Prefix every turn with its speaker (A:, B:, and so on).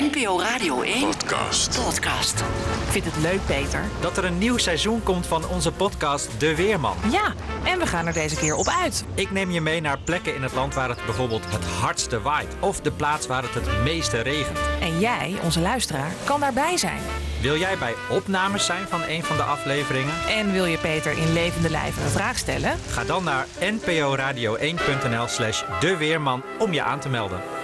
A: NPO Radio 1
B: Podcast.
A: podcast.
C: Ik vind het leuk, Peter.
D: dat er een nieuw seizoen komt van onze podcast De Weerman.
C: Ja, en we gaan er deze keer op uit.
D: Ik neem je mee naar plekken in het land waar het bijvoorbeeld het hardste waait. Of de plaats waar het het meeste regent.
C: En jij, onze luisteraar, kan daarbij zijn.
D: Wil jij bij opnames zijn van een van de afleveringen?
C: En wil je Peter in levende lijven een vraag stellen?
D: Ga dan naar nporadio1.nl slash de Weerman om je aan te melden.